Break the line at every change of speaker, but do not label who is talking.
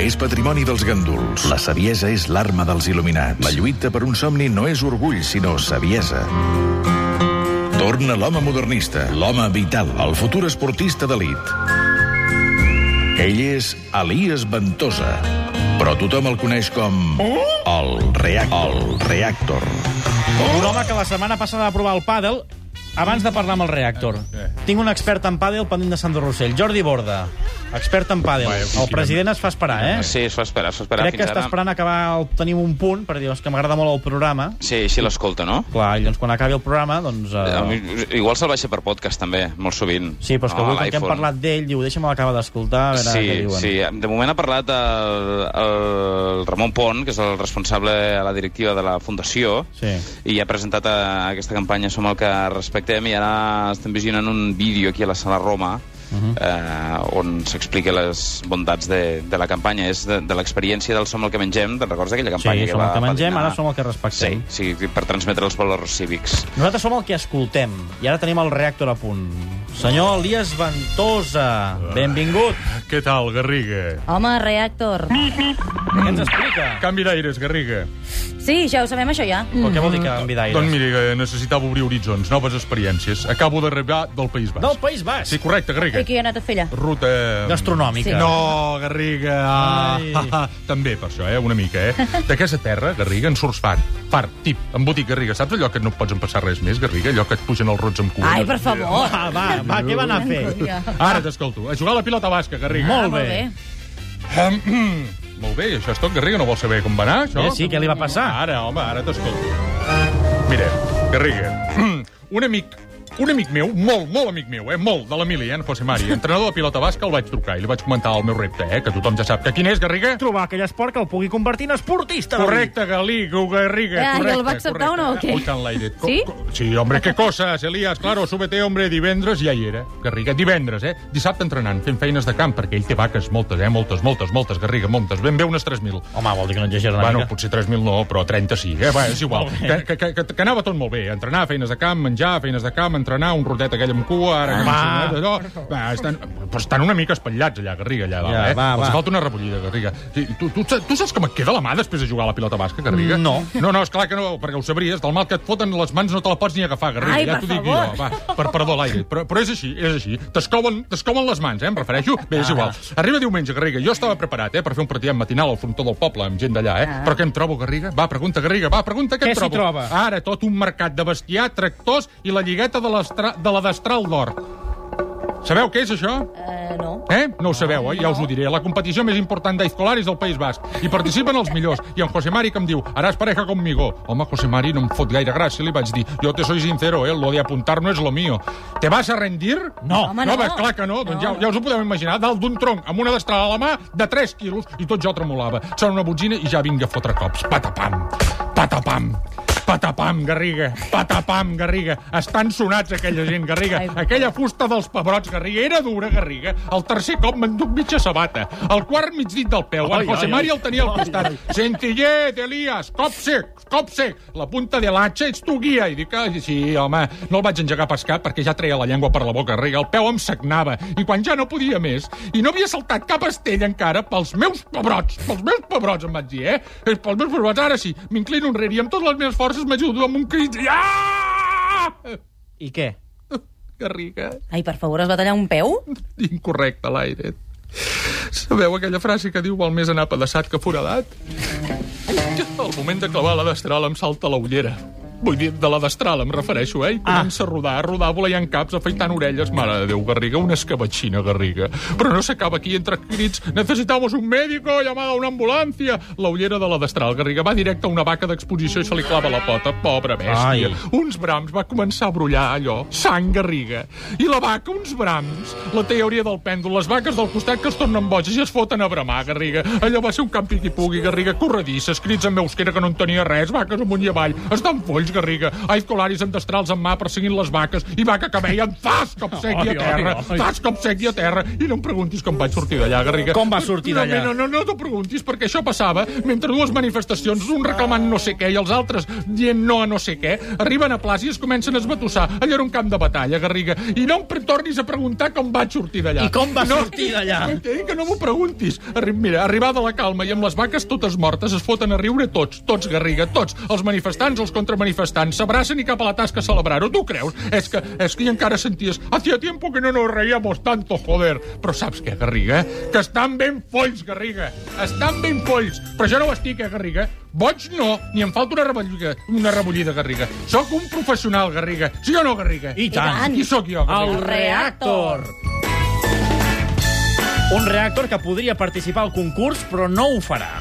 és patrimoni dels gàndols. La saviesa és l'arma dels il·luminats. La lluita per un somni no és orgull, sinó saviesa. Torna l'home modernista, l'home vital, el futur esportista d'elit. Ell és Elias Ventosa, però tothom el coneix com... El, reac el Reactor.
Un home que la setmana passada va provar el pàdel abans de parlar amb el reactor.
Ah,
Tinc un expert en pàdel pendent de Sandro Rossell, Jordi Borda, expert en pàdel. El president es fa esperar, eh?
Sí, es fa esperar, es fa esperar.
Crec que
fins
està
ara.
esperant acabar el tenim un punt, per dir, és que m'agrada molt el programa.
Sí, així l'escolta, no?
Clar, i doncs quan acabi el programa, doncs...
A
Eh...
mi- Igual se'l baixa per podcast, també, molt sovint.
Sí, però és que
No,
avui,
a
com que hem
l'iPhone.
parlat d'ell, diu, deixa'm l'acabar d'escoltar, a veure què
Sí,
diuen. eh.
sí. De moment ha parlat el, el Ramon Pont, que és el responsable a la directiva de la Fundació,
Sí.
i ha presentat eh, aquesta campanya Som el que respectem, i ara estem visionant un vídeo aquí a la Sala Roma, Uh
Mhm.
-huh. eh, on s'explica les bondats de, de la campanya. És de, de l'experiència del Som el que mengem, te'n recordes d'aquella campanya?
Sí,
que
som
va,
el que
va
mengem,
dinar?
ara som el que respectem.
Sí, sí, per transmetre els valors cívics.
Nosaltres som el que escoltem, i ara tenim el reactor a punt. Senyor Elias
Ah.
Ventosa, benvingut.
Què tal, Garriga?
Home, reactor.
Què ens explica?
Canvi d'aires, Garriga.
Sí, ja ho sabem, això ja.
Però què vol dir que en
Doncs
Vidaires?
mira, que necessitava obrir horitzons, noves experiències. Acabo d'arribar del País Basc.
Del País Basc.
Sí, correcte, Garriga.
I que jo he anat a fer allà.
Ruta... mm,
Gastronòmica.
No, Garriga. Ah, també per això, eh? Una mica, eh? D'aquesta terra, Garriga, en surts fart. Fart, tip, embotit, Garriga. Saps allò que no et pots empassar res més, Garriga? Allò que et pugen els rots amb cua?
Ai, per favor.
Va, Ah, va, va, què va anar a fer?
Ja.
Ara t'escolto. A jugar a la pilota basca, Garriga.
Molt
Ah, Molt
bé.
bé.
Molt bé, i això és tot, Garriga. No vols saber com va anar, això?
Eh, sí, què li va passar?
Ara, home, ara t'escolto. Mira, Garriga, un amic un amic meu, molt, molt amic meu, eh? molt, de l'Emili, eh? en José Mari, entrenador de pilota basca, el vaig trucar i li vaig comentar el meu repte, eh? que tothom ja sap que quin és, Garriga?
Trobar aquell esport que el pugui convertir en esportista.
Correcte, Galigo, Garriga,
Ah, i el
correcte.
va acceptar
correcte.
o no, o què?
Ui, que enlaire. Co-
Sí?
co- Sí, hombre, qué cosas, Elías, claro, súbete, hombre, divendres ja hi era. Garriga, divendres, eh? Dissabte entrenant, fent feines de camp, perquè ell té vaques, moltes, eh? Moltes, moltes, moltes, Garriga, moltes, ben bé unes 3.000.
Home, vol dir que no exagera una
Bueno,
mica.
potser 3.000 no, però 30 sí. Eh? Va, és igual. Que, que, que, que, que anava tot molt bé. Entrenar, feines de camp, menjar, feines de camp, entrenar, un rotet aquell amb cua, ara...
Ah, Va.
allò. va estan, però estan una mica espatllats allà, Garriga, allà dalt,
Ja,
eh?
va,
Els
va.
falta una rebullida, Garriga. Sí, tu, tu, tu saps com et queda la mà després de jugar a la pilota basca, Garriga?
No.
No, no, esclar que no, perquè ho sabries. Del mal que et foten les mans no te la pots ni agafar, Garriga.
Ai,
ja
per
t'ho dic
favor.
jo. Va, per perdó, l'aire. Però, però és així, és així. T'escouen t'escouen les mans, eh, em refereixo. Bé,
Ah,
és igual. Arriba diumenge, Garriga. Jo estava preparat, eh, per fer un partit matinal al frontó del poble, amb gent d'allà, eh? Però què em trobo, Garriga? Va, pregunta, Garriga, va, pregunta què,
Ah. Què
em
s'hi
trobo.
troba?
Ara, tot un mercat de bestiar, tractors i la lligueta de, l'estra- de la destral d'or. Sabeu què és això?
Eh, no.
Eh? No ho sabeu, oi? Ja us ho diré. La competició més important d'Aizcolaris del País Basc. Hi participen els millors. I en José Mari que em diu, haràs pareja conmigo. Home, José Mari no em fot gaire gràcia, li vaig dir. Jo te soy sincero, eh? Lo de apuntar no es lo mío. ¿Te vas a rendir?
No.
Home,
no,
no.
va, clar que no. Doncs ja,
No.
ja us ho podeu imaginar. Dalt d'un tronc, amb una destral a la mà, de 3 quilos, i tot jo tremolava. Sona una botzina i ja vinc a fotre cops. Patapam, patapam, patapam, Garriga, patapam, Garriga. Estan sonats aquella gent, Garriga.
Ai,
Aquella fusta dels pebrots, Garriga, era dura, Garriga. El tercer cop m'enduc mitja sabata. El quart mig dit del peu.
Ai,
El José
ai,
Mari
ai.
el tenia al costat. Sentillet, Elias, cop sec, cop sec. La punta de l'atxa ets tu, guia. I dic, ai, sí, home, no el vaig engegar pas cap perquè ja treia la llengua per la boca, Garriga. El peu em sagnava. I quan ja no podia més, i no havia saltat cap estella encara, pels meus pebrots, pels meus pebrots, em vaig dir, eh? Eh, Pels meus pebrots, ara sí. M'inclino enrere i amb totes les meves forces m'ajudo amb un crit. Ah!
I què?
Garriga.
Ai, per favor, es va tallar un peu?
Incorrecte, l'aire. Sabeu aquella frase que diu val més anar pedaçat que foradat? Al moment de clavar la destral em salta la ullera. Vull dir, de la destral em refereixo, eh? I comença a rodar, a rodar, voleiant caps, afaitant orelles. Mare de Déu, Garriga, una escabatxina, Garriga. Però no s'acaba aquí entre crits. Necesitamos un médico, llamada a una ambulància. La ullera de la destral, Garriga, va directe a una vaca d'exposició i se li clava la pota. Pobra bèstia.
Ai.
Ai. Uns brams va començar a brollar allò, sang garriga. I la vaca, uns brams. La teoria del pèndol, les vaques del costat que es tornen boges i es foten a bramar, garriga. Allò va ser un campi qui pugui, garriga, corredisses, crits en euskera que no en tenia res, vaques amunt i avall, estan folls, Llorenç Garriga. Ai, colaris ancestrals en mà perseguint les vaques i vaca que veien fas com
Ai,
segui a terra,
ai, ai.
fas com segui a terra. I no em preguntis com vaig sortir d'allà, Garriga.
Com va sortir
No,
d'allà?
No, no, no t'ho preguntis, perquè això passava mentre dues manifestacions, un reclamant no sé què i els altres dient no a no sé què, arriben a plaça i es comencen a esbatussar. Allò era un camp de batalla, Garriga. I no em pre- tornis a preguntar com vaig sortir d'allà.
I com va sortir d'allà?
No, t'he dit eh, que no m'ho preguntis. Arri mira, arribada la calma i amb les vaques totes mortes es foten a riure tots, tots, Garriga, tots. Els manifestants, els contramanifestants, s'abracen i cap a la tasca a celebrar-ho. Tu creus? És que, és que encara senties hacía tiempo que no nos reíamos tanto, joder. Però saps què, Garriga? eh? Que estan ben folls, Garriga. Estan ben folls. Però jo no ho estic, eh, Garriga? Boig no, ni em falta una rebullida, una rebullida, Garriga. Sóc un professional, Garriga. Sí o no, Garriga?
I tant.
Qui sóc jo, Garriga?
El reactor. Un reactor que podria participar al concurs, però no ho farà.